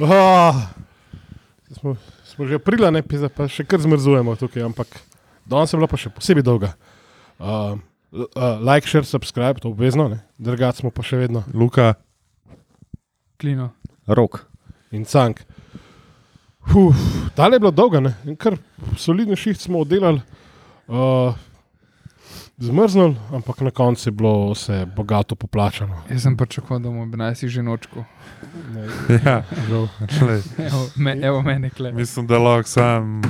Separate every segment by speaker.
Speaker 1: Oh, smo, smo že aprila, ne pisa, pa še kar zmrzujemo tukaj, ampak danes je bila pa še posebej dolga. Uh, l- uh, like, share, subscribe, to obvezno, drugače smo pa še vedno. Luka
Speaker 2: Klino.
Speaker 3: Rok.
Speaker 1: in Cank. Uf, Tale je bila dolga, ne? in kar solidni šiht smo oddelali, uh, zmrznili, ampak na koncu je bilo vse bogato poplačano.
Speaker 2: Jaz sem pričakoval, da bom ob 11 že nočko.
Speaker 1: Ne,
Speaker 4: Ja,
Speaker 1: žal.
Speaker 4: glej,
Speaker 2: Evo, me, evo mene kle.
Speaker 4: mislim, da lahko sam,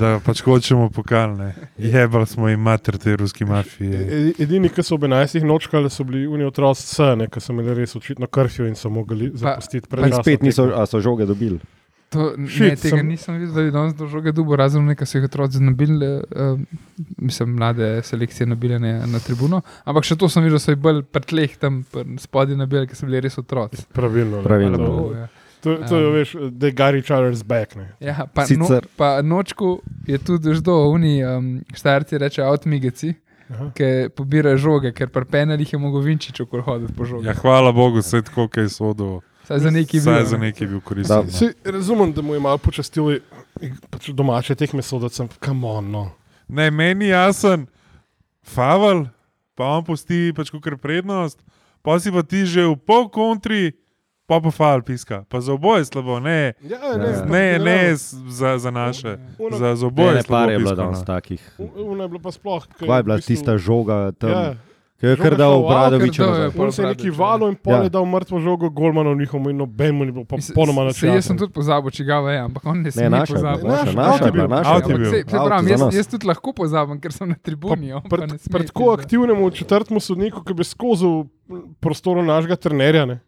Speaker 4: da pač hočemo pokalne. Jebali smo jim mater te ruske mafije.
Speaker 1: E- Edini, ki so ob 11 nočkali, so bili unijo otroci, vse, ne, ki so imeli res očitno krfijo in so mogli zapustiti pred
Speaker 3: In spet niso, a so žoge dobili.
Speaker 2: To, ne,
Speaker 1: Shit,
Speaker 2: Shit, tega
Speaker 1: sem-
Speaker 2: sem... nisem videl, da je danes do žoge dubo, razen nekaj se jih otroci znabili, uh, mislim, mlade selekcije nabile ne, na tribuno. Ampak še to sem videl, da so jih bolj pretleh tam spodaj nabili, ker so bili res otroci.
Speaker 1: Pravilno. ne.
Speaker 3: Pravilno.
Speaker 1: To,
Speaker 2: Ja.
Speaker 1: to, to je,
Speaker 2: Um.
Speaker 1: veš, da je Gary Charles back. Ne.
Speaker 2: Ja, pa, no,
Speaker 3: Sicer-
Speaker 2: pa nočku je tudi ždo, oni um, starci reče avtmigeci,
Speaker 1: Aha.
Speaker 2: ki pobirajo žoge, ker prpenali jih je mogo Vinčič okol hoditi po žogi.
Speaker 4: Ja, hvala Bogu, vse tako, kaj so do.
Speaker 2: Saj za neki
Speaker 4: Saj
Speaker 2: bil.
Speaker 4: za
Speaker 2: ne.
Speaker 4: nekaj bil koristen.
Speaker 3: Da.
Speaker 2: Ja.
Speaker 4: no.
Speaker 1: Saj, razumem, da mu je malo počastili pač domače tekme, da sem kamon. No.
Speaker 4: Ne, meni je jasen, faval, pa on pusti pač kar prednost, pa si pa ti že v pol kontri, pa pa faval piska. Pa za oboje je slabo, ne,
Speaker 1: Ja,
Speaker 3: Ne.
Speaker 1: sploh
Speaker 4: ne, ne
Speaker 1: realno.
Speaker 4: z- za, za naše,
Speaker 1: Ono-
Speaker 4: za, za
Speaker 3: Boje
Speaker 4: oboje je slabo. no.
Speaker 3: par je bilo
Speaker 4: piskano.
Speaker 3: danes takih.
Speaker 1: U- Ona no. je bila pa sploh. ker
Speaker 3: Kva je
Speaker 1: v
Speaker 3: bila
Speaker 1: bistvu-
Speaker 3: tista žoga tam,
Speaker 1: Ja,
Speaker 3: ja. ki jo je
Speaker 1: Žoga
Speaker 3: kar
Speaker 1: šla
Speaker 3: dal
Speaker 1: v avto,
Speaker 3: Obradovič
Speaker 2: ker dal je
Speaker 3: nazaj.
Speaker 2: pa-
Speaker 1: On se je neki
Speaker 2: Obradovič,
Speaker 1: valo in pol
Speaker 3: Ja.
Speaker 1: je dal mrtvo žogo, golmanu njihovemu in nobenemu ni bilo
Speaker 2: Mislim,
Speaker 1: popolnoma
Speaker 2: saj
Speaker 1: načela.
Speaker 2: Jaz sem tudi pozabil, čigava je, ampak on ne sme
Speaker 3: Ne, naša je bila,
Speaker 2: pozabiti.
Speaker 3: naša,
Speaker 1: Naš,
Speaker 3: naša je
Speaker 1: avto je
Speaker 3: bila,
Speaker 1: bil.
Speaker 3: naša je
Speaker 4: Avto je
Speaker 2: Ampak
Speaker 3: bila.
Speaker 4: bil.
Speaker 2: se, se
Speaker 3: Avto
Speaker 2: pravim,
Speaker 3: za
Speaker 2: jaz,
Speaker 3: nas.
Speaker 2: jaz tudi lahko pozabim, ker sem na tribuni. on pa
Speaker 1: Pred,
Speaker 2: ne sme,
Speaker 1: pred tako
Speaker 2: pizda.
Speaker 1: aktivnemu četrtemu sodniku, ki bi skozi prostor našega trenerja. Ne?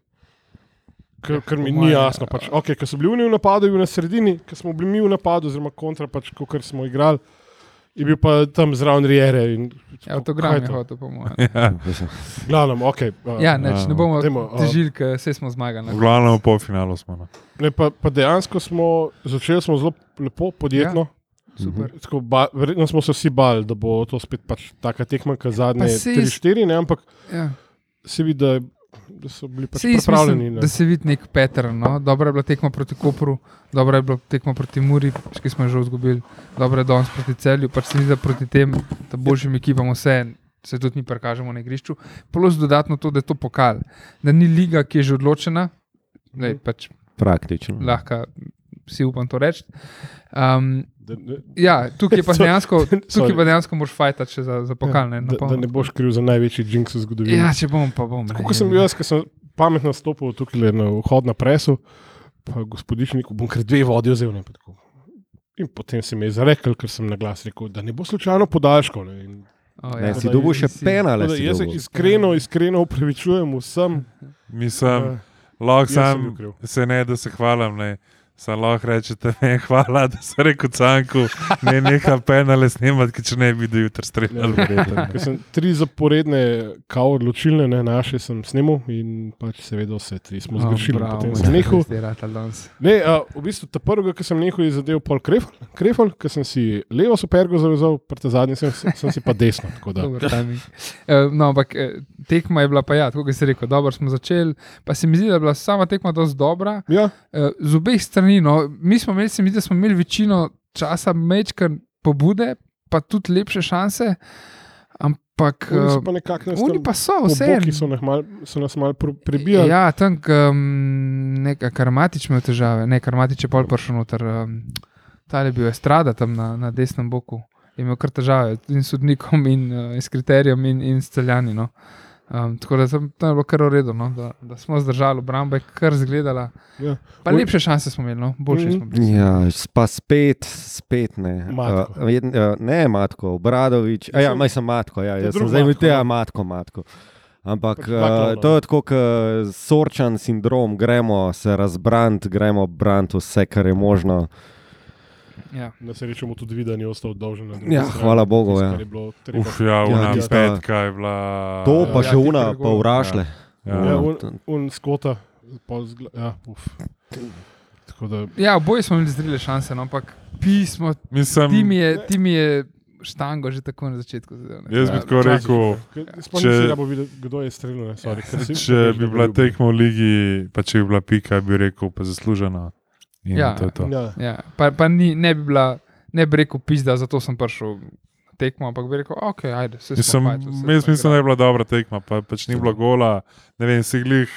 Speaker 1: Ker, ker mi ni
Speaker 2: Ja, Moje- ja.
Speaker 1: jasno. Pač. Okay, ker so bili oni v napadu, je bil na sredini, ker smo bili mi v napadu, oziroma kontra, pač, kot smo igrali, je bil pa tam zraven Rijere. in-
Speaker 2: Ja, Avtogram
Speaker 1: Kaj
Speaker 2: je
Speaker 1: to?
Speaker 2: hotel, po mojem.
Speaker 4: Ja,
Speaker 1: Glavnem, okay, uh,
Speaker 2: Ja, neč, ne bomo
Speaker 1: Dajmo, a-
Speaker 2: težili, ker vse smo
Speaker 4: V
Speaker 2: zmagali.
Speaker 4: glavnem v polfinalu smo. No.
Speaker 1: ne, pa, pa dejansko smo začeli smo zelo lepo, podjetno.
Speaker 2: Super.
Speaker 1: Tako, ba, verjetno smo se vsi bali, da bo to spet pač taka tekma, kot zadnje
Speaker 2: saj
Speaker 1: 3-4, ne, ampak
Speaker 2: Ja.
Speaker 1: se vidi, da, da so bili pač
Speaker 2: Saj jaz
Speaker 1: pripravljeni.
Speaker 2: mislim,
Speaker 1: na-
Speaker 2: da se vidi nek Petern. No? Dobro je bila tekma proti Kopru, dobro je bila tekma proti Muri, pač, ki smo jo že izgubili, dobro je danes proti celju, pač se vidi, da proti tem ta boljšim ekipam vse. Se tudi mi prikažemo na igrišču. Plus dodatno to, da je to pokal, da ni liga, ki je že odločena, da
Speaker 1: Mhm.
Speaker 2: je pač
Speaker 3: Praktično.
Speaker 2: lahko, si upam to reči. Um,
Speaker 1: da, da,
Speaker 2: ja, tukaj pa
Speaker 1: So-
Speaker 2: dejansko, tukaj
Speaker 1: sorry. Ja,
Speaker 2: pa dejansko moraš fajtati še za, za pokalne.
Speaker 1: Da, da ne boš kriv za največji jinx v zgodovini.
Speaker 2: Ja, če bom, pa bom. ne.
Speaker 1: Tako kot sem bil jaz, ki sem pametno stopil tukaj le na vhod na presu, pa gospodičniku bom kar dve vodi vzel. Ne, pa tako. in potem se mi je zarekel, ker sem na glas rekel, da ne bo slučajno podaljškal. ne. In
Speaker 2: O,
Speaker 3: Ne,
Speaker 2: ja.
Speaker 3: si dobil še
Speaker 2: Nisi.
Speaker 3: penale.
Speaker 1: Tako da
Speaker 3: si
Speaker 1: Jaz se
Speaker 3: dobil.
Speaker 1: iskreno, iskreno upravičujem vsem.
Speaker 4: Mislim,
Speaker 1: eh, Jaz
Speaker 4: Lahko
Speaker 1: sem bil
Speaker 4: sam,
Speaker 1: kriv.
Speaker 4: se ne, da se hvalim, ne. Sam lahko rečete, ne, hvala, da sem rekel canku, ne neha penale snemati, ker če ne bi do jutra streljal.
Speaker 1: Ker sem tri zaporedne, kao odločilne, ne, naše sem snimil in pač seveda vse tri smo zgrešili.
Speaker 2: No, bravo, ja,
Speaker 1: Potem
Speaker 2: moj
Speaker 1: sem nehal,
Speaker 2: Zdaj je ratal danes.
Speaker 1: Ne, a, v bistvu ta prvega, ki sem nehal, je zadev pol krefal, krefal ker sem si levo supergo zavezal, prete zadnji sem, sem si pa desno. tako da.
Speaker 2: Dober timing. Eh, No, ampak eh, tekma je bila pa ja, tako kot si rekel, dobro smo začeli, pa se mi zdi, da je bila sama tekma dosti dobra.
Speaker 1: Ja,
Speaker 2: Eh, Z obeh strani, no, mi smo imeli, se mi zdi, da smo imeli večino časa mečkan pobude, pa tudi lepše šanse, ampak
Speaker 1: oni so
Speaker 2: eh,
Speaker 1: pa nekako nas
Speaker 2: oni
Speaker 1: tam
Speaker 2: pa so
Speaker 1: po
Speaker 2: vse.
Speaker 1: bokih so, mal, so nas malo pr- prebijali.
Speaker 2: Ja, tam um, nekaj karmatič imel težave, ne karmatič je pol prišel noter. Um, ta je bil estrada tam na, na desnem boku, je imel kar težave in s sodnikom, in, uh, in s kriterijem, in, in s celjani. No. Um, tako da tam, tam je bilo kar uredu, no, da, da smo zdržali, obramba je kar zgledala.
Speaker 1: Ja.
Speaker 2: Pa
Speaker 1: Oj.
Speaker 2: lepše šanse smo imeli, no. boljše smo bili.
Speaker 3: Ja, s- pa spet, spet ne.
Speaker 1: Matko.
Speaker 3: Uh, jedn, uh, ne, matko, Obradovič. A ja, maj sem matko, ja, jaz sem
Speaker 1: drugo
Speaker 3: zdaj
Speaker 1: matko,
Speaker 3: videl,
Speaker 1: ja.
Speaker 3: ja, matko, matko. Ampak
Speaker 1: Pač dva
Speaker 3: uh, to je tako, kot sorčan sindrom, gremo se razbrant, gremo brant vse, kar je možno.
Speaker 2: Ja.
Speaker 1: Na srečo mu tudi vidi, da ni ostal dolžen. na drugi
Speaker 3: Ja,
Speaker 1: strani,
Speaker 3: hvala Bogu.
Speaker 1: tisto,
Speaker 3: Ja.
Speaker 1: kar je bilo treba.
Speaker 4: Uf, ja,
Speaker 3: Ja,
Speaker 4: ona ja,
Speaker 3: tista-
Speaker 4: petka je bila.
Speaker 3: To pa
Speaker 2: Ja,
Speaker 3: še
Speaker 2: ti
Speaker 3: una,
Speaker 2: kar
Speaker 3: pa
Speaker 2: gol.
Speaker 3: vrašle.
Speaker 4: Ja.
Speaker 1: Ja,
Speaker 3: Ja,
Speaker 1: un,
Speaker 3: to-
Speaker 1: un skota, pol zgla. Ja, uf. Tako da
Speaker 2: ja, oboje smo imeli zrele šanse, no, ampak pismo,
Speaker 4: Mislim,
Speaker 2: ti mi je, ti mi je štango že tako na začetku. Zadev, ne.
Speaker 4: Jaz bi
Speaker 2: Ja,
Speaker 4: tako
Speaker 2: včasih.
Speaker 4: rekel,
Speaker 1: Spomnim
Speaker 4: Če-
Speaker 1: se, da ja bo videl, kdo je streljal. ne, sorry, ker si-
Speaker 4: če bi bila tekma v ligi, pa če bi bila pika, bi rekel, pa zaslužena. In
Speaker 2: Ja.
Speaker 4: to je to.
Speaker 1: Ja.
Speaker 2: Ja, pa, pa ni, ne bi bila, ne bi rekel, pizda, zato sem prišel na tekmo, ampak bi rekel, ok, ajde, se
Speaker 4: Mislim, jaz mislim, da je bila dobra tekma, pa, pač ni bilo gola. Ne vem, se glih,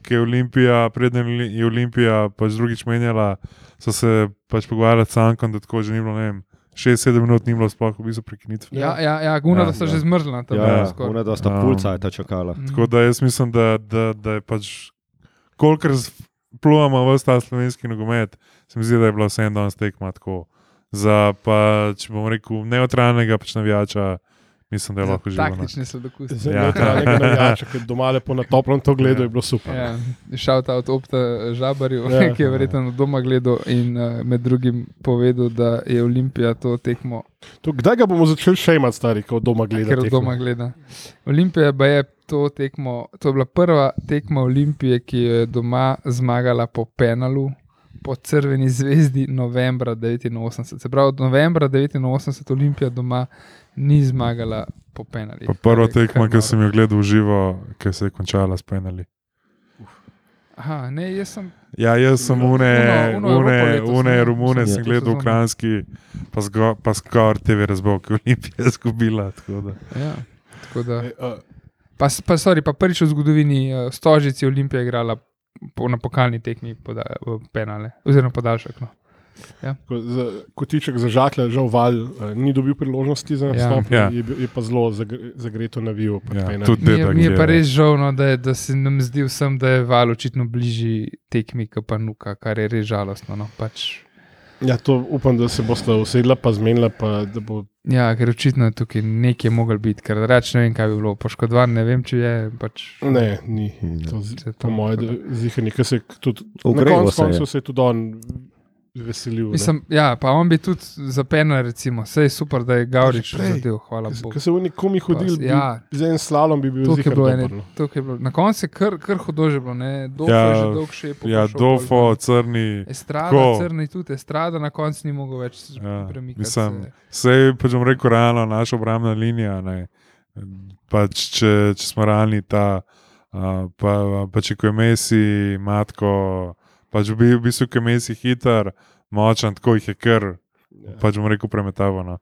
Speaker 4: ki je Olimpija, predtem je Olimpija, pač drugič menjala, so se pač pogovarjali s Sankom, da tako že ni bilo, ne vem, 6-7 minut ni bilo sploh v bistvu prekinitve.
Speaker 2: Ja, ja, ja guna, ja,
Speaker 3: Ja,
Speaker 2: da so
Speaker 3: ja.
Speaker 2: že zmrzla tam.
Speaker 3: Ja,
Speaker 4: Ja,
Speaker 3: ona dosta
Speaker 4: Ja.
Speaker 3: pulca je ta čakala.
Speaker 2: Mhm.
Speaker 4: Tako da jaz mislim, da, da, da je pač, kolikor s- pljuvamo v ta slovenski nogomet, se mi zdi, da je bila vse en danes tekma tako. Za pač, bom rekel, neutralnega pač navijača, mislim, da je lahko živelo. no.
Speaker 2: Taktični so dokusti.
Speaker 1: Zdaj
Speaker 4: Ja.
Speaker 1: ja. nekaj navijača, ki je doma lepo na toplem to gledal,
Speaker 4: Ja.
Speaker 1: je bilo super.
Speaker 2: Ja, šel ta od opta Žabarju,
Speaker 1: Ja.
Speaker 2: ja, ki je verjetno od doma gledal in uh, med drugim povedal, da je Olimpija to tekmo,
Speaker 1: To, kdaj ga bomo začeli še imati, stari, ko doma no? gledamo?
Speaker 2: ker od doma gleda. Olimpija pa je to tekmo, to je bila prva tekma Olimpije, ki jo je doma zmagala po penalu. Po crveni zvezdi novembra 89. Se pravi, od novembra 89 Olimpija doma ni zmagala po penalih.
Speaker 4: Pa prva
Speaker 2: Kar je-
Speaker 4: tekma,
Speaker 2: kar
Speaker 4: ki sem jo gledal v živo, ki se je končala s penali.
Speaker 2: Aha, ne, jaz sem
Speaker 4: Ja, jaz sem
Speaker 2: Uno-
Speaker 4: une,
Speaker 2: Uno Evropo
Speaker 4: une,
Speaker 2: letos,
Speaker 4: une
Speaker 2: ne?
Speaker 4: Romune
Speaker 3: Mislim,
Speaker 4: sem
Speaker 3: ja.
Speaker 4: gledal
Speaker 2: To
Speaker 4: v
Speaker 2: sezono.
Speaker 4: Kranski, pa zgo- pa skoraj TV razbol, ki je Olimpija izgubila. tako da.
Speaker 2: Ja, tako da.
Speaker 1: E, a,
Speaker 2: Pa, s- pa, sorry, pa prvič v zgodovini eh, Stožici Olimpija je igrala po, na pokalni tekmi poda, eh, penale, oziroma podaljšek. No.
Speaker 1: ko- za- Kotiček za žaklja, žal val, eh, ni dobil priložnosti za nastop,
Speaker 4: Ja.
Speaker 1: ja. je, bil- je pa zelo zagre- zagreto navijal.
Speaker 4: Ja,
Speaker 1: Ja,
Speaker 4: tudi-
Speaker 2: Mi je,
Speaker 4: Dedek
Speaker 2: mi je
Speaker 4: je-
Speaker 2: pa res žal, no, da, je, da se nam zdi vsem, da je val očitno bližji tekmi, kot pa nuka, kar je res žalostno. No, pač.
Speaker 1: ja, to upam, da se boste usedla, pa zmenila, pa da bo
Speaker 2: Ja, ker očitno je tukaj nekaj mogel biti, ker reč ne vem, kaj bi bilo poškodovan, ne vem, če je. Pač,
Speaker 1: Ne, ni. To, z-
Speaker 2: Če to-
Speaker 1: po mojem, zihanje, ki se je tudi
Speaker 3: Ogreval
Speaker 1: na koncu
Speaker 3: se je.
Speaker 1: koncev se je tudi on veselil. ne.
Speaker 2: Mislim, ja, pa on bi tudi za penal, recimo, vse je super, da je Gavrič
Speaker 1: prej.
Speaker 2: zadel, hvala Bogu.
Speaker 1: Ko se v nekomi hodil, bi,
Speaker 2: ja.
Speaker 1: ja. z enim slalom bi bil
Speaker 2: To, ki je
Speaker 1: zihar
Speaker 2: bilo
Speaker 1: dober.
Speaker 2: ene-
Speaker 1: no.
Speaker 2: To, ki je bilo- Na koncu je kar, kar hodo že bilo, ne? Dofo
Speaker 4: Ja,
Speaker 2: ja, že dolg še je pošel.
Speaker 4: Ja, Dofo, Crni.
Speaker 2: Estrada,
Speaker 4: tako.
Speaker 2: crni tudi, estrada na koncu ni mogel več s-
Speaker 4: Ja,
Speaker 2: premikati.
Speaker 4: mislim,
Speaker 2: se.
Speaker 4: Vse je, pač bom rekel, realno, naša obrambna linija. Ne. Pač, če, če smo realni, ta, a, pa, pa če ko je Messi, matko, pač bi v bistvu, ki je Messi hiter, močan, tako jih je kar, pač bom rekel, premetavano.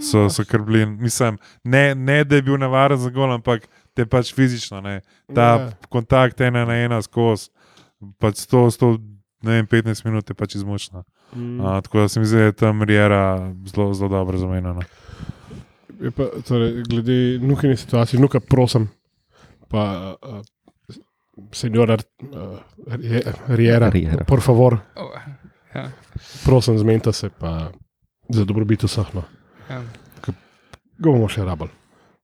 Speaker 4: So, so kar bili, mislim, ne, ne da je bil navaren za gol, ampak te pač fizično, ne. ta
Speaker 1: Ja.
Speaker 4: kontakt ena na ena skozi, pač 100, 100, ne vem, 15 minut je pač izmučna.
Speaker 1: Mm.
Speaker 4: A, tako da se mi zdi, da je tam Rijera zelo, zelo dobro zamenjena.
Speaker 1: Je Pa, torej, glede nukine situacije, nuka prosim, pa uh, senjora uh, Riera,
Speaker 3: Riera.
Speaker 1: por favor,
Speaker 2: O, ja,
Speaker 1: prosim, zmenite se pa za dobrobit vseh. No.
Speaker 2: ja.
Speaker 1: ga bomo še rabili.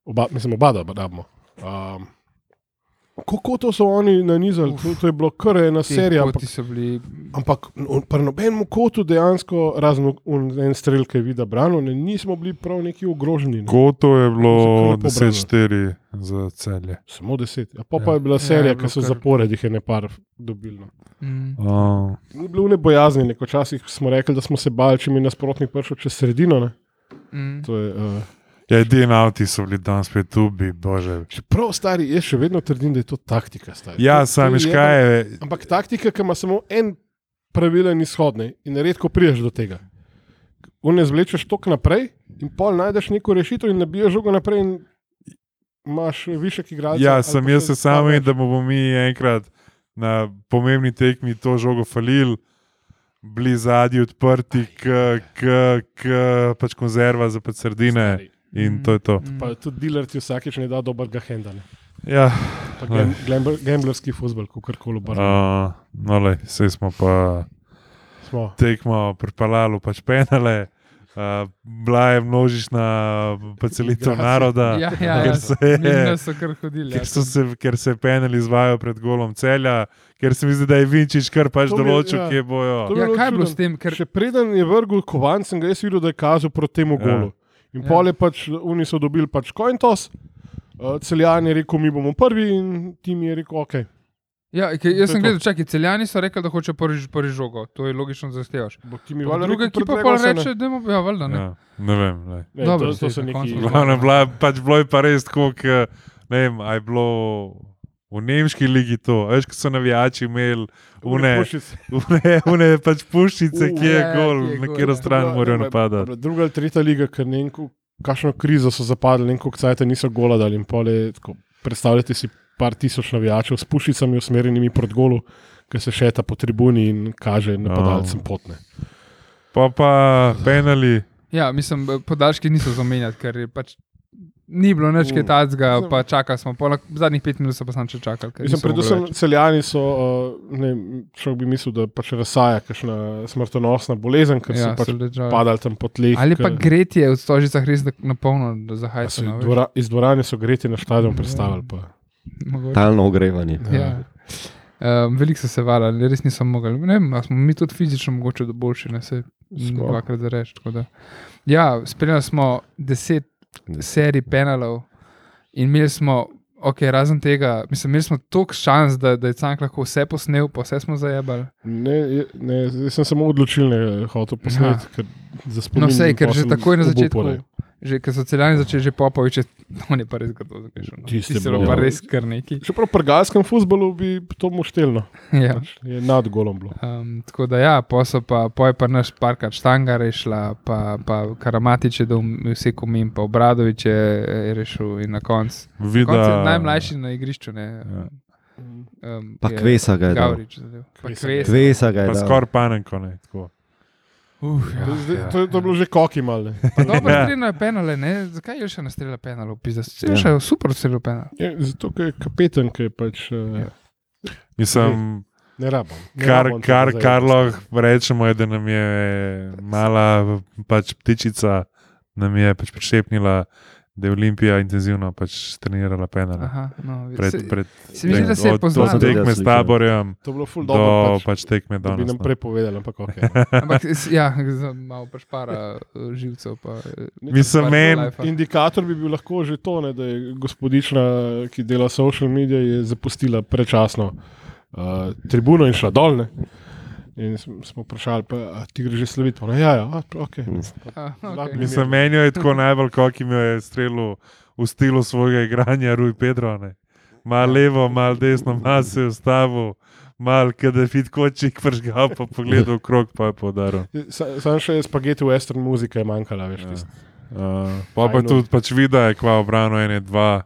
Speaker 1: Oba, mislim, oba da rabimo. Um, kako to so oni nanizali,
Speaker 2: Uf.
Speaker 1: to, to je bilo kar ena
Speaker 2: Ti
Speaker 1: serija.
Speaker 2: Poti
Speaker 1: Ampak,
Speaker 2: so bili.
Speaker 1: ampak n- pri nobenem kotu dejansko, razen v- v en strelj, ki je videl brano, ne, nismo bili prav neki ogroženi. Ne.
Speaker 4: Koto je bilo
Speaker 1: Zakaj pa
Speaker 4: 10-4 za celje.
Speaker 1: Samo deset. A pa,
Speaker 4: Ja.
Speaker 1: ja. pa je bila
Speaker 2: Ja,
Speaker 1: serija,
Speaker 2: je
Speaker 1: ja,
Speaker 2: bilo
Speaker 1: ki so
Speaker 2: kar-
Speaker 1: zaporedih je nepar dobili. no.
Speaker 2: Mm,
Speaker 4: Um,
Speaker 1: Ni bilo ne bojazni, neko časih smo rekli, da smo se bali, če mi nasprotnik prišel čez sredino. Ne.
Speaker 2: mm.
Speaker 1: To je, uh,
Speaker 4: ja, edini avti so bili danes spet tu, bi bože.
Speaker 1: čeprav stari, jaz še vedno trdim, da je to taktika. Stari.
Speaker 4: Ja,
Speaker 1: To- to je
Speaker 4: samiš
Speaker 1: jebana-
Speaker 4: kaj je.
Speaker 1: Ampak taktika, ki ima samo en pravilen izhod ne, in redko priješ do tega. Vne zvlečeš tok naprej in pol najdeš neko rešitev in nabiješ žogo naprej in imaš višek igralcev.
Speaker 4: Ja,
Speaker 1: Pač, ali
Speaker 4: sem
Speaker 1: pa
Speaker 4: jaz se sam in
Speaker 1: slabe-
Speaker 4: da bomo mi enkrat na pomembni tekmi to žogo falili. Bili zadnji odprti, k, k, k, pač konzerva za pač sardine in to je to.
Speaker 2: Mm.
Speaker 1: Pa tudi dealer ti vsakeč ne da dobrega henda. ne.
Speaker 4: Ja,
Speaker 1: Pa
Speaker 4: Ne.
Speaker 1: gam- gambler- Gamblerski futbol, kako koli obrnemo.
Speaker 4: uh, no, le, sej smo pa. tekmo pripeljalo pač penale. Uh, bila je množična pocelitev
Speaker 1: Migracija.
Speaker 4: naroda,
Speaker 2: Ja, ja, ja.
Speaker 4: ker, se,
Speaker 2: Mislim, so kar hodili. ja.
Speaker 4: ker, so se, ker se penali izvajo pred golom celja, ker se mi zdi, da je Vinčič kar pač
Speaker 1: To mi je-
Speaker 4: določil,
Speaker 1: ja.
Speaker 4: kje bojo.
Speaker 1: To mi
Speaker 2: Ja, kaj je bilo
Speaker 1: čudno.
Speaker 2: s tem? Ker,
Speaker 1: Še preden je vrgel kovanc, sem ga jaz videl, da je kazal proti temu
Speaker 4: Ja.
Speaker 1: golu. In
Speaker 2: Ja.
Speaker 1: pol je pač, eh, oni so dobili pač kointos, uh, celjan je rekel, mi bomo prvi in tim je rekel, ok.
Speaker 2: Ja, ke- jaz
Speaker 1: To je
Speaker 2: sem
Speaker 1: to.
Speaker 2: gledal, čakaj, celjani so rekli, da hoče prvi prvi žogo, to je logično, da zahtevaš.
Speaker 1: Bo ti mi valjda
Speaker 2: Druga
Speaker 1: rekel,
Speaker 2: ekipa pa
Speaker 1: predlagal se ne.
Speaker 2: reče, da je ja, valjda ne.
Speaker 4: Ja, ne vem. Ne.
Speaker 1: Ne,
Speaker 2: Dobro,
Speaker 1: to, to
Speaker 2: saj,
Speaker 1: so
Speaker 2: na
Speaker 1: neki.
Speaker 2: koncu
Speaker 1: Bila,
Speaker 4: Glavno, bila, pač bilo je pa res tako, ke, ne vem, a je bilo v nemški ligi to, a veš, ko so navijači imeli une, une, une pač
Speaker 2: U,
Speaker 4: puščice, ki je
Speaker 2: ja,
Speaker 4: gol,
Speaker 2: kje je
Speaker 4: na
Speaker 2: gol,
Speaker 4: katero
Speaker 2: ja.
Speaker 4: stran morajo napadati.
Speaker 1: Druga ali tretja liga, ker ne vem, ko- kakšno krizo so zapadli, ne vem, koliko cajt niso gola dali. in pol je tako, Predstavljajte si par tisoč navijačev s pušicami usmerjenimi proti golu, ki se šeta po tribuni in kaže napadalcem potne.
Speaker 4: Pa pa penali,
Speaker 2: Ja, mislim, eh, podaljški niso zamenjati, ker je pač ni bilo nič kaj tacga, pa čakali smo, polak, zadnjih pet minut so pa sam še čakali. ker
Speaker 1: Mislim,
Speaker 2: niso mogli
Speaker 1: predvsem
Speaker 2: več.
Speaker 1: celjani so, uh, ne, človek bi mislil, da pač razsaja kakšna smrtonosna bolezen, ker ja,
Speaker 2: ja,
Speaker 1: so pač
Speaker 2: so ležali.
Speaker 1: padali tam po tleh.
Speaker 2: Ali pa no,
Speaker 1: ker-
Speaker 2: gretje je v stožicah res napolno, da
Speaker 1: A so
Speaker 2: zahajate.
Speaker 1: iz Dvora, iz dvorane so greti na stadion predstavili. Pa.
Speaker 3: Talno ogrevanje.
Speaker 2: Ja. Um, veliko so se valili, res nisem mogel. Ne vem, a smo mi tudi fizično mogoče do boljši, ne se
Speaker 1: Smo.
Speaker 2: dvakrat zareč. tako da. Ja, spremljali smo deset serij penalov in imeli smo, ok, razen tega, mislim, imeli smo toliko šans, da, da je Cank lahko vse posnel, pa vse smo zajebali. No,
Speaker 1: Ne, je- ne, jaz sem samo odločil, ne hotel posneti, ker za spomin.
Speaker 2: No, vse,
Speaker 1: in
Speaker 2: ker
Speaker 1: pol
Speaker 2: že
Speaker 1: sem
Speaker 2: takoj na začetku.
Speaker 1: obupal, ne.
Speaker 2: Že, ker so celjani začeli že popoviče, on je pa res grdo zagrešil. No.
Speaker 1: Tisto je
Speaker 2: Tisto je bilo
Speaker 1: bilo-
Speaker 2: pa res kar neki.
Speaker 1: Čeprav pri galskem futbolu bi to moštelno,
Speaker 2: Ja.
Speaker 1: pač je nad golom bilo.
Speaker 2: Um, tako da, ja, posel pa, poj pa naš parkar Štangar je šla, pa, pa Karamatič je dal vse komim, pa Obradovič je, je rešil in na koncu. Na koncu je
Speaker 4: vida.
Speaker 2: najmlajši na igrišču. Ne,
Speaker 4: Ja.
Speaker 2: um,
Speaker 3: Pa
Speaker 2: je
Speaker 3: kvesa ga je dal.
Speaker 2: Gavrič zadev. Pa
Speaker 1: Kvesa.
Speaker 2: Kvesa.
Speaker 3: Kvesa ga je.
Speaker 4: Pa
Speaker 3: dal.
Speaker 4: skoraj panenko, ne. Tako.
Speaker 2: Uf, ja.
Speaker 1: Zdaj, to, je- to je bilo že koki malne.
Speaker 2: Dobro,
Speaker 4: Ja.
Speaker 2: strelno je penale, ne? Zakaj je še nastrela penalo? Pizda, ja. super strelil penal.
Speaker 1: Zato ker je kapetan, ki je pač
Speaker 2: Ja.
Speaker 1: eh,
Speaker 4: Mislim,
Speaker 1: ne rabim. Ne
Speaker 4: kar,
Speaker 1: rabim
Speaker 4: kar,
Speaker 1: tega
Speaker 4: kar
Speaker 1: zdaj.
Speaker 4: lahko rečemo, je, da nam je mala pač ptičica, nam je pač prišepnila, da je Olimpija intenzivno pač trenirala penale.
Speaker 2: Aha, no,
Speaker 4: Pred,
Speaker 2: se,
Speaker 4: pred,
Speaker 2: se mi zdi, da se je
Speaker 4: od-
Speaker 3: To
Speaker 2: poznal.
Speaker 3: sem
Speaker 4: Od
Speaker 3: tudi jaz
Speaker 4: tekme s
Speaker 3: slišal.
Speaker 4: taborjem
Speaker 1: To je bilo ful dobro.
Speaker 4: do
Speaker 1: Pač,
Speaker 4: pač tekme
Speaker 1: da bi
Speaker 4: danes.
Speaker 1: nam
Speaker 4: no.
Speaker 1: prej povedali, ampak no. ok.
Speaker 2: Ampak s- ja, za malo prešpara eh, živcev. Pa, eh, par
Speaker 4: Mislim, meni
Speaker 2: lajfa.
Speaker 1: Indikator bi bil lahko že to, ne, da je gospodična, ki dela social medije, je zapustila prečasno uh, tribuno in šla dol. Ne. In smo smo vprašali, pa, a ti greš že slaviti? Ona, Ja, ja, ok.
Speaker 2: Ah,
Speaker 1: Zlatni
Speaker 2: okej.
Speaker 4: Mislim, meni jo je tako najbolj, kot jim jo je strelil v stilu svojega igranja, Rui Pedro. Ne. Mal levo, mal desno, mal se je ustavil, mal kadafit kočik pržgal, pa pogledal krok, pa je podaril.
Speaker 1: Sa- Samo še spageti western muzika je manjkala, veš. Ja.
Speaker 4: Uh, pa
Speaker 1: Fajno.
Speaker 4: pa tudi pač vida je kva obrano, ene, dva.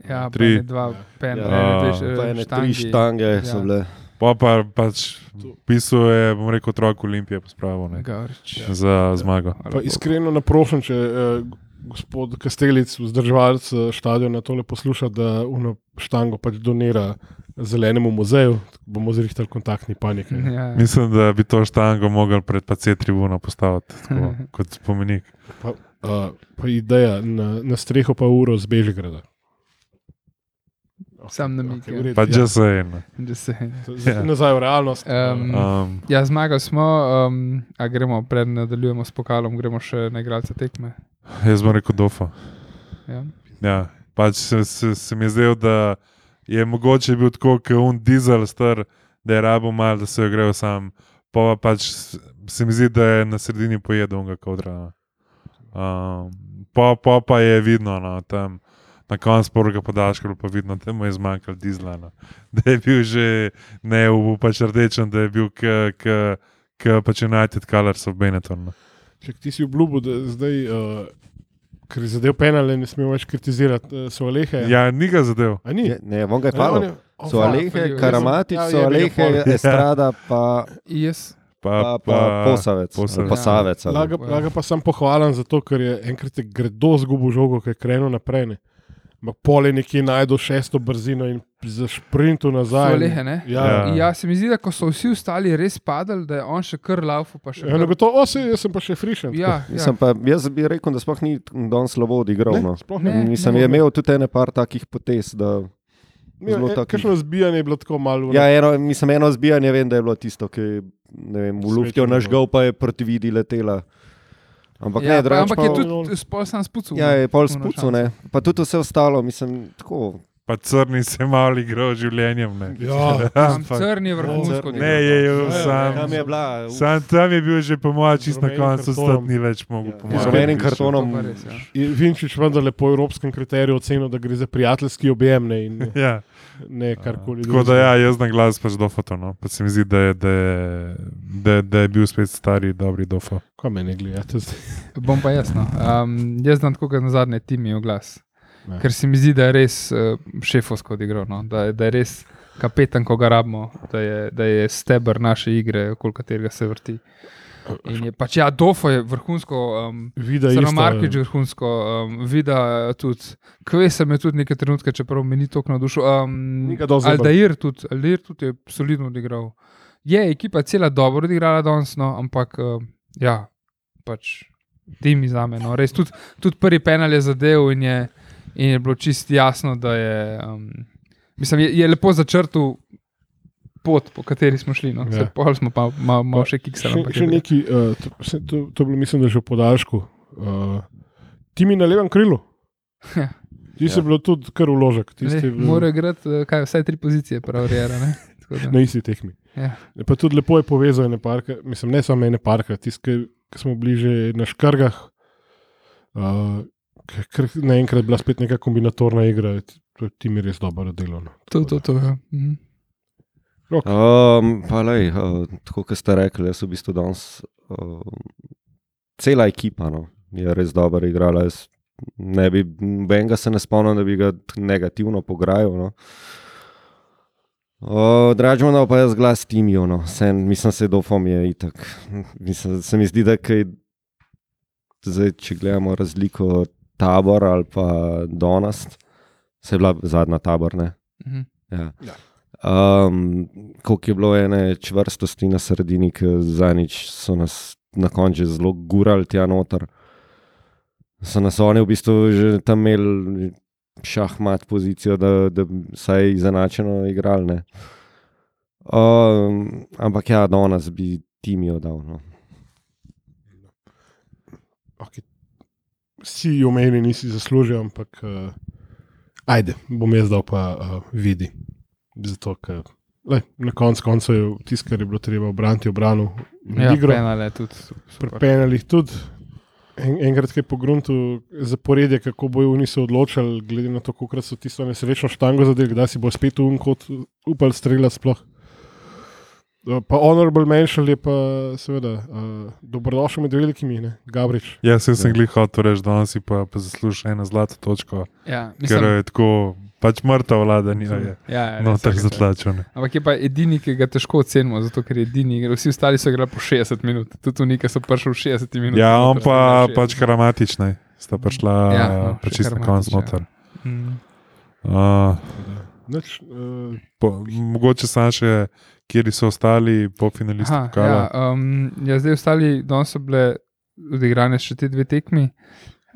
Speaker 2: Ja, tri,
Speaker 4: Tri.
Speaker 2: dva, pen,
Speaker 3: Ja.
Speaker 1: eh,
Speaker 2: ja,
Speaker 3: To je
Speaker 2: ene,
Speaker 3: ene
Speaker 2: dve,
Speaker 3: tri štange so
Speaker 2: Ja.
Speaker 3: bile.
Speaker 4: Pa pa pač pisal je, bom rekel, otrok Olimpije pospravil ne,
Speaker 2: Gavrič.
Speaker 3: Ja.
Speaker 4: za zmago.
Speaker 1: Pa iskreno naprošam, če eh, gospod Kastelic, vzdrževalec eh, štadiona, tole posluša, da uno štango pač donira zelenemu muzeju, tako bomo zrihtali kontaktni panik.
Speaker 2: Ja,
Speaker 4: Mislim, da bi to štango mogel pred PC tribuno postaviti tako, kot spomenik.
Speaker 1: Pa, uh, pa ideja, na, na streho pa uro z Bežigrada.
Speaker 2: Sam namig,
Speaker 1: Okej,
Speaker 2: ja.
Speaker 1: v redu,
Speaker 4: Pa
Speaker 1: ja.
Speaker 4: že se je.
Speaker 2: da se.
Speaker 1: Z- Nazaj v realnost.
Speaker 2: Em,
Speaker 1: Mm.
Speaker 4: Um,
Speaker 2: Ja, zmagali smo, um, a gremo, pred nadaljujemo s pokalom, gremo še na igralce tekme.
Speaker 4: jaz bom rekel, dofa.
Speaker 2: Ja.
Speaker 4: Ja, pač se, se, se mi je zdelo, da je mogoče bil tako, kot un dizel star, da je rabo mal, da se je grejo sam. Pa pa pač s- se mi zdi, da je na sredini pojedel unga kodra. no. Um, pa, pa pa je vidno, no, tam na koncu prvega podaljška je bilo pa vidno, da mu je zmanjkalo dizla. No. Da je bil že ne v pač rdečem, da je bil k, k, k pač United Colors of Benetton. No.
Speaker 1: Če ti si obljubil, da zdaj, uh, ker je zadev penale, ne smemo več kritizirati, uh, so alehe.
Speaker 4: Ja, ni ga zadev.
Speaker 1: A ni?
Speaker 3: Je- Ne, von ga
Speaker 1: A
Speaker 3: je
Speaker 1: ne, on
Speaker 3: falil.
Speaker 1: je- o,
Speaker 3: Ja, So
Speaker 1: fala.
Speaker 3: Alehe,
Speaker 2: falil.
Speaker 3: Karamatič,
Speaker 1: Ja, je
Speaker 3: so
Speaker 1: bil
Speaker 3: Alehe,
Speaker 1: fal.
Speaker 3: Estrada, pa,
Speaker 2: Jaz,
Speaker 3: pa, pa Posavec.
Speaker 4: Posavec.
Speaker 3: ali Pa Savec. ali-
Speaker 1: Laga,
Speaker 2: Ja.
Speaker 1: laga pa sem pohvalen za to, ker je enkrat je gredo zgubil žogo, ki je krenil naprej. ne. Ampak pol je nekje najdel šesto brzino in zašprintu nazaj.
Speaker 2: Solehe, ne?
Speaker 1: Ja.
Speaker 4: Ja.
Speaker 2: ja, se mi zdi, da ko so vsi ostali res padali, da je on še kar laufu, pa še
Speaker 1: Ja,
Speaker 2: kar...
Speaker 1: gotovo, o, sej, jaz sem pa še frišen.
Speaker 2: Ja, ja.
Speaker 3: Mislim pa, jaz bi rekel, da sploh ni danes slabo odigral.
Speaker 1: Ne,
Speaker 3: No.
Speaker 1: sploh
Speaker 2: Ne,
Speaker 1: ne.
Speaker 3: Mislim,
Speaker 1: ne.
Speaker 3: je imel tudi ene par takih potez. Da, zelo
Speaker 1: ne.
Speaker 3: takih.
Speaker 1: Kakšno zbijanje je bilo tako malo.
Speaker 3: ja, eno, mislim, eno zbijanje vem, da je bilo tisto, ki je ne vem, v luftu
Speaker 1: Srečo
Speaker 3: nažgal, pa je proti vidi letela. Ampak
Speaker 2: ja,
Speaker 3: ne,
Speaker 2: pa,
Speaker 3: drugače
Speaker 2: ampak
Speaker 3: pa,
Speaker 2: je tudi spol sam spucal.
Speaker 3: Ja, je pol
Speaker 2: Tako na
Speaker 3: spucu, ne. Pa tudi vse ostalo, mislim, tako.
Speaker 4: pa crni se malo igra z življenjem. Ne,
Speaker 1: Ja,
Speaker 2: Tam
Speaker 4: Ampak-
Speaker 2: Crni je vrhunsko.
Speaker 3: Ja, Crni.
Speaker 4: ne je, je
Speaker 1: Ja,
Speaker 4: sam.
Speaker 3: Tam je bila, uh,
Speaker 4: Sam tam je bil že po mojem čist na
Speaker 1: Z rumenim
Speaker 4: koncu,
Speaker 1: kartonom.
Speaker 4: stot ni več mogel
Speaker 3: Ja.
Speaker 4: pomagati.
Speaker 1: Z rumenim
Speaker 4: Više.
Speaker 3: kartonom.
Speaker 2: To pa res, ja.
Speaker 1: In Vinčič vendarle po evropskem kriteriju ocenil, da gre za prijateljski objem ne, in
Speaker 4: Ja.
Speaker 1: ne karkoli.
Speaker 4: Tako da ja, jaz na glas pač dofoto, no. pa se mi zdi, da je, da je, da je, da je bil spet stari, dobri dofo.
Speaker 1: Kaj me ne gledate zdaj?
Speaker 2: Bom pa jasno. Um, jaz znam tako, kot na zadnje, ti mi je oglas.
Speaker 1: Ne.
Speaker 2: Ker se mi zdi, da je res uh, šefovsko odigral, no? da, je- da je res kapetan, ko ga rabimo, da je, da je stebr naše igre, okoli katerega se vrti. In je pač, ja, Dofo je vrhunsko, um,
Speaker 1: Vida
Speaker 2: Sano
Speaker 1: ista,
Speaker 2: Markič je vrhunsko, um, Vida tudi, Kvesa me tudi neke trenutke, čeprav me ni tako navdušil. Um,
Speaker 1: Ni ga dosti zabavno.
Speaker 2: Aldair tudi, Aldair tudi je solidno odigral. Je ekipa cela dobro odigrala danes, no, ampak um, ja, pač tim iz name. No. Res tudi, tudi prvi penal je zadev in je, in je bilo čist jasno, da je. Um, mislim, je, je lepo začrtal pot, po kateri smo šli. No.
Speaker 1: Ja.
Speaker 2: Ja. Pol smo pa malo mal
Speaker 1: Pa
Speaker 2: še kiksali.
Speaker 1: Še,
Speaker 2: ampak
Speaker 1: še
Speaker 2: je bilo-
Speaker 1: neki, uh, to, vse to, to je bilo, mislim, da že v podaljšku. Uh, ti mi na levem krilu.
Speaker 2: Ja.
Speaker 1: Ti si
Speaker 3: Ja.
Speaker 1: ja. bil tudi kar vložek, ti si
Speaker 2: Ne,
Speaker 1: bil
Speaker 2: Mora igrati eh, kaj, vsaj tri pozicije, pravi Rejera.
Speaker 1: na isti tehni.
Speaker 2: Ja.
Speaker 1: Pa tudi lepo je povezal ene parke, mislim, ne samo ene parke, tiste, ki smo bili že na škrgah. Uh, Ker naenkrat je bila spet neka kombinatorna igra, ti, ti mi res dobro delo. no.
Speaker 2: To, to, to. Ja. Mhm.
Speaker 3: Um, pa lej, uh, tako kot ste rekli, jaz v bistvu danes uh, cela ekipa no, je res dobro igrala. Jaz Ne bi, benga se ne spomnim, da bi ga t- negativno pograjal. No. Uh, Dražmano pa jaz glas timijo, no. Sen- mislim, se dofom je itak. Mislim, se mi zdi, da kaj, zdaj, če gledamo razliko tabor ali pa donast, se je bila zadnja tabor, ne?
Speaker 2: Mhm.
Speaker 3: Ja. Um, Koliko je bilo ene čvrstosti na sredini, ki za nič so nas na koncu že zelo gurali tja noter. So nas oni v bistvu že tam imeli šahmat pozicijo, da, da bi vsaj izenačeno igrali. ne. Um, ampak ja, do nas bi tim jo dal. No.
Speaker 1: okay, si omenil, nisi zaslužil, ampak uh, ajde, bom jaz dal pa uh, vidi. Zato, ker lej, na koncu koncev je tisto, kar je bilo treba obraniti, obranil in
Speaker 2: Ja,
Speaker 1: igro.
Speaker 2: penal je tudi. super.
Speaker 1: Pri penalih tudi. En, enkrat je pogruntu zaporedje, kako bojo oni se odločili, glede na to, kako so tisto nesrečno štango zadeli, da si bo spet um kot upal strela sploh. Eh, Pa honorable mention je pa seveda uh, dobrodošel med velikimi, ne? Gabrič.
Speaker 4: Jaz se Ja, sem glih hotel reči, da si pa, pa zasluži eno zlato točko,
Speaker 2: Ja,
Speaker 4: Mislim.
Speaker 2: mislim,
Speaker 4: ker jo je tako pač mrtav vlada, ni jo je.
Speaker 2: ja, ja,
Speaker 4: No,
Speaker 2: res je,
Speaker 4: tako
Speaker 2: res je.
Speaker 4: zatlačen.
Speaker 2: Ampak je pa edini, ki ga težko ocenimo, zato ker je edini, igral. vsi ostali so igrali po 60 minut, tudi oni, ki so prišli v 60 minut.
Speaker 4: Ja,
Speaker 2: so
Speaker 4: on
Speaker 2: prišli
Speaker 4: pa
Speaker 2: na 60.
Speaker 4: pač karamatične, sta prišla
Speaker 2: Ja,
Speaker 4: ja,
Speaker 2: no,
Speaker 4: no,
Speaker 2: še
Speaker 4: pač na koncu
Speaker 2: Karamatič, ja.
Speaker 4: noter.
Speaker 2: Mhm.
Speaker 4: Uh,
Speaker 1: Nič, uh,
Speaker 4: po, mogoče sam še, kjer so ostali po finalistu.
Speaker 2: Aha, Ja, um, ja, zdaj ostali, danes so bile odigrane še te dve tekmi,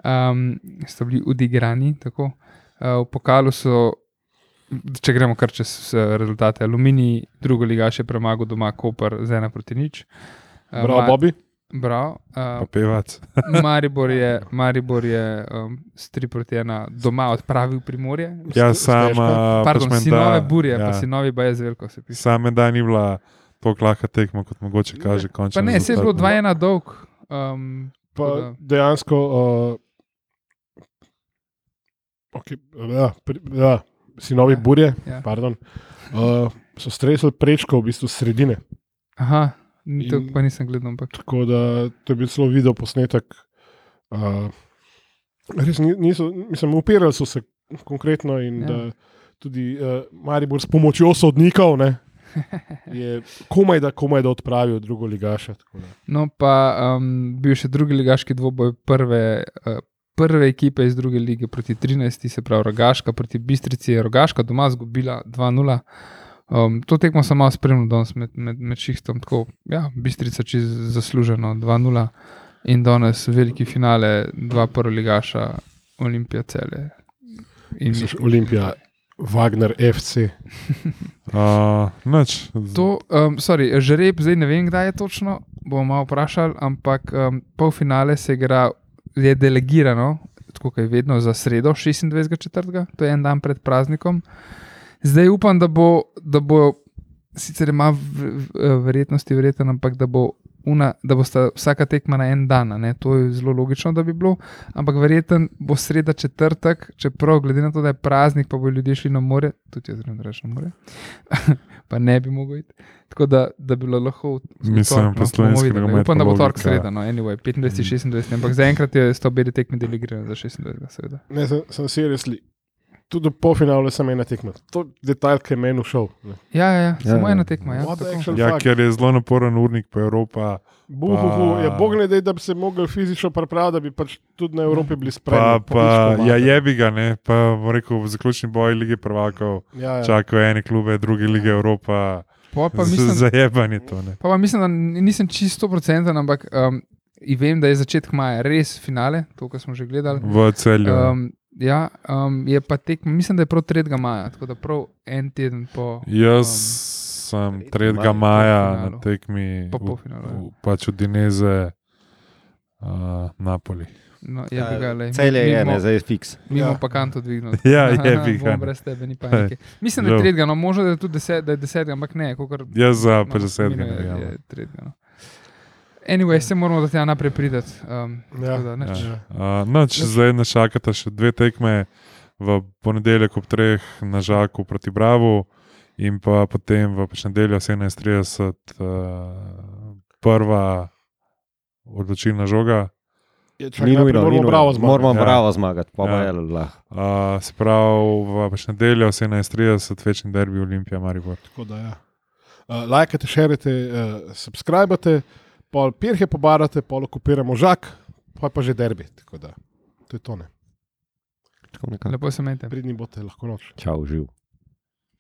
Speaker 2: um, so bili odigrani. Tako. Uh, v pokalu so, če gremo kar čez eh, rezultate, Aluminij, drugo liga še premagal doma Koper z ena proti nič. Eh,
Speaker 1: Prav,
Speaker 2: Ma-
Speaker 1: Bobi.
Speaker 2: Bravo.
Speaker 4: Pa
Speaker 2: Uh,
Speaker 4: pevac.
Speaker 2: Maribor je, Maribor je um, s 3 proti 1 doma odpravil primorje.
Speaker 4: Ja,
Speaker 1: Ste- Stežka?
Speaker 4: sama.
Speaker 2: Pardon,
Speaker 4: pač menda-
Speaker 2: sinove burje, ja. pa
Speaker 4: ja.
Speaker 2: sinovi baje zvelko se piše.
Speaker 4: Sam menda ni bila tako lahka tekma, kot mogoče kaže
Speaker 2: Pa
Speaker 4: končno.
Speaker 2: ne, se je bilo 2-1 dolg. Um, tako da-
Speaker 1: Pa dejansko. Uh, okay, ja, pri, ja, sinovi
Speaker 2: Ja,
Speaker 1: ja, Burje
Speaker 2: ja.
Speaker 1: ja. Pardon, uh, so stresli prečko v bistvu sredine.
Speaker 2: Aha, ni to
Speaker 1: In-
Speaker 2: pa nisem gledal, ampak
Speaker 1: Tako da to je bil celo video posnetek. Uh, res ni- niso, mislim, upirali so se konkretno in
Speaker 2: Ja.
Speaker 1: ja. da tudi uh, Maribor s pomočjo sodnikov ne, je komaj da, komaj da odpravil drugo ligaša. tako da.
Speaker 2: no, pa um, bil še drugi ligaški dvoboj prve, uh, prve ekipe iz druge lige proti 13, se pravi Rogaška proti Bistrici. je Rogaška doma zgubila 2-0. Um, to tekmo sem malo spremljal danes med, med, med šihtom, tako ja, Bistrica čez zasluženo 2-0 in danes veliki finale, dva prvi ligaša, Olimpija celje. In
Speaker 1: Misliš, Olimpija, Wagner, FC.
Speaker 4: Uh, noč,
Speaker 2: To, um, sorry, žreb, zdaj ne vem, kdaj je točno, bomo malo vprašali, ampak um, polfinale se igra, je delegirano tako kot je vedno za sredo, 26.4., to je en dan pred praznikom. Zdaj upam, da bo, da bo sicer ima v- v- verjetnosti, verjeten, ampak da bo. Una, da bo vsaka tekma na en dan, a ne, to je zelo logično, da bi bilo, ampak verjeten bo sreda, četrtek, čeprav glede na to, da je praznik, pa bodo ljudje šli na more, tudi jaz grem reči na more, pa ne bi mogel iti. Tako da, da bi bilo lahko v- v
Speaker 4: Mislim,
Speaker 2: torek, no,
Speaker 4: po Mhm.
Speaker 2: bomo
Speaker 4: slovenski
Speaker 2: videli, ne.
Speaker 4: nogomet
Speaker 2: Upam, da bo torek
Speaker 4: logika.
Speaker 2: sreda, no, anyway, 25, 26, ampak zaenkrat je sto bili tekmi delegirani za 26, seveda.
Speaker 1: Ne, sem, sem seriously. Tudi do polfinala sem ena tekma. To je detajl, ki je meni všel. ne.
Speaker 2: Ja, ja, ja, samo
Speaker 3: ja.
Speaker 2: ena tekma. Ja,
Speaker 1: What the
Speaker 2: tako.
Speaker 1: actual
Speaker 4: Ja,
Speaker 1: fuck?
Speaker 4: ker je zelo naporen urnik, pa Evropa.
Speaker 1: Buhuhu,
Speaker 4: Pa-
Speaker 1: je ja, bog ne dej, da bi se mogel fizično pripraviti, da bi pač tudi na Evropi bili
Speaker 4: Pa,
Speaker 1: spremljeni.
Speaker 4: pa, ja, je bi ga, ne, pa bom rekel, zaključni boj lige prvakov,
Speaker 1: Ja, ja.
Speaker 4: čakajo ene klube, druge lige Evropa.
Speaker 2: Pol pa
Speaker 4: Z-
Speaker 2: mislim,
Speaker 4: Zajebanje to, ne.
Speaker 2: Pa, pa mislim, da n- nisem čisto procenten, ampak um, vem, da je začetek maja res finale, to, kar smo že gledali.
Speaker 4: V celju. Um,
Speaker 2: Um, ja, um, je pa tekma, mislim, da je prav 3. maja, tako da prav en teden po,
Speaker 4: Jaz
Speaker 3: um,
Speaker 4: sem
Speaker 3: tretji
Speaker 4: 3. maja
Speaker 2: polfinalu.
Speaker 4: na tekmi,
Speaker 2: po
Speaker 4: Ja, v-
Speaker 2: polfinalu. ja.
Speaker 4: v- pač od Dineze, uh, Napoli.
Speaker 2: No, je bi ga le.
Speaker 3: Cel je ena, zdaj je fiks.
Speaker 2: Mi bomo
Speaker 1: Ja.
Speaker 2: pa kanto dvignili.
Speaker 4: Ja, je bi ga,
Speaker 2: ga.
Speaker 4: ne.
Speaker 2: Brez tebe ni panike. Mislim, da je
Speaker 4: Žal.
Speaker 2: 3. no možno, da je tudi 10. ampak ne, kakor
Speaker 4: Jaz Ja, za
Speaker 2: No,
Speaker 4: 50
Speaker 2: mine je-
Speaker 4: let.
Speaker 2: je tretjega, no. Anyway, se moramo do tega naprej priti. Um,
Speaker 1: Ja.
Speaker 2: tako da, nič.
Speaker 4: Ja. Uh, no, če zdaj nas čakata še dve tekme v ponedeljek ob 3 na Žaku proti Bravu in pa potem v pač nedeljo 17:30 uh, prva odločilna žoga.
Speaker 1: Je ja, čakal,
Speaker 3: Ni
Speaker 1: najprej
Speaker 3: nujno, ni
Speaker 1: moramo bravo
Speaker 3: nujno.
Speaker 1: zmagati.
Speaker 3: Moramo
Speaker 4: Ja.
Speaker 3: bravo zmagati, pa
Speaker 4: Ja.
Speaker 3: je lahko.
Speaker 4: Uh, se pravi, v pač nedeljo 17:30 večni derbi Olimpija Maribor.
Speaker 1: Tako da, ja. uh, lajkate, šerite, uh, subskrbite, pol pirhe pobarate, pol okupiramo žak, pa je pa že derbi. tako da. To je to, ne.
Speaker 3: Tako nekako.
Speaker 2: Lepo se menite.
Speaker 1: Pridni boste lahko noč.
Speaker 3: Čau, živ.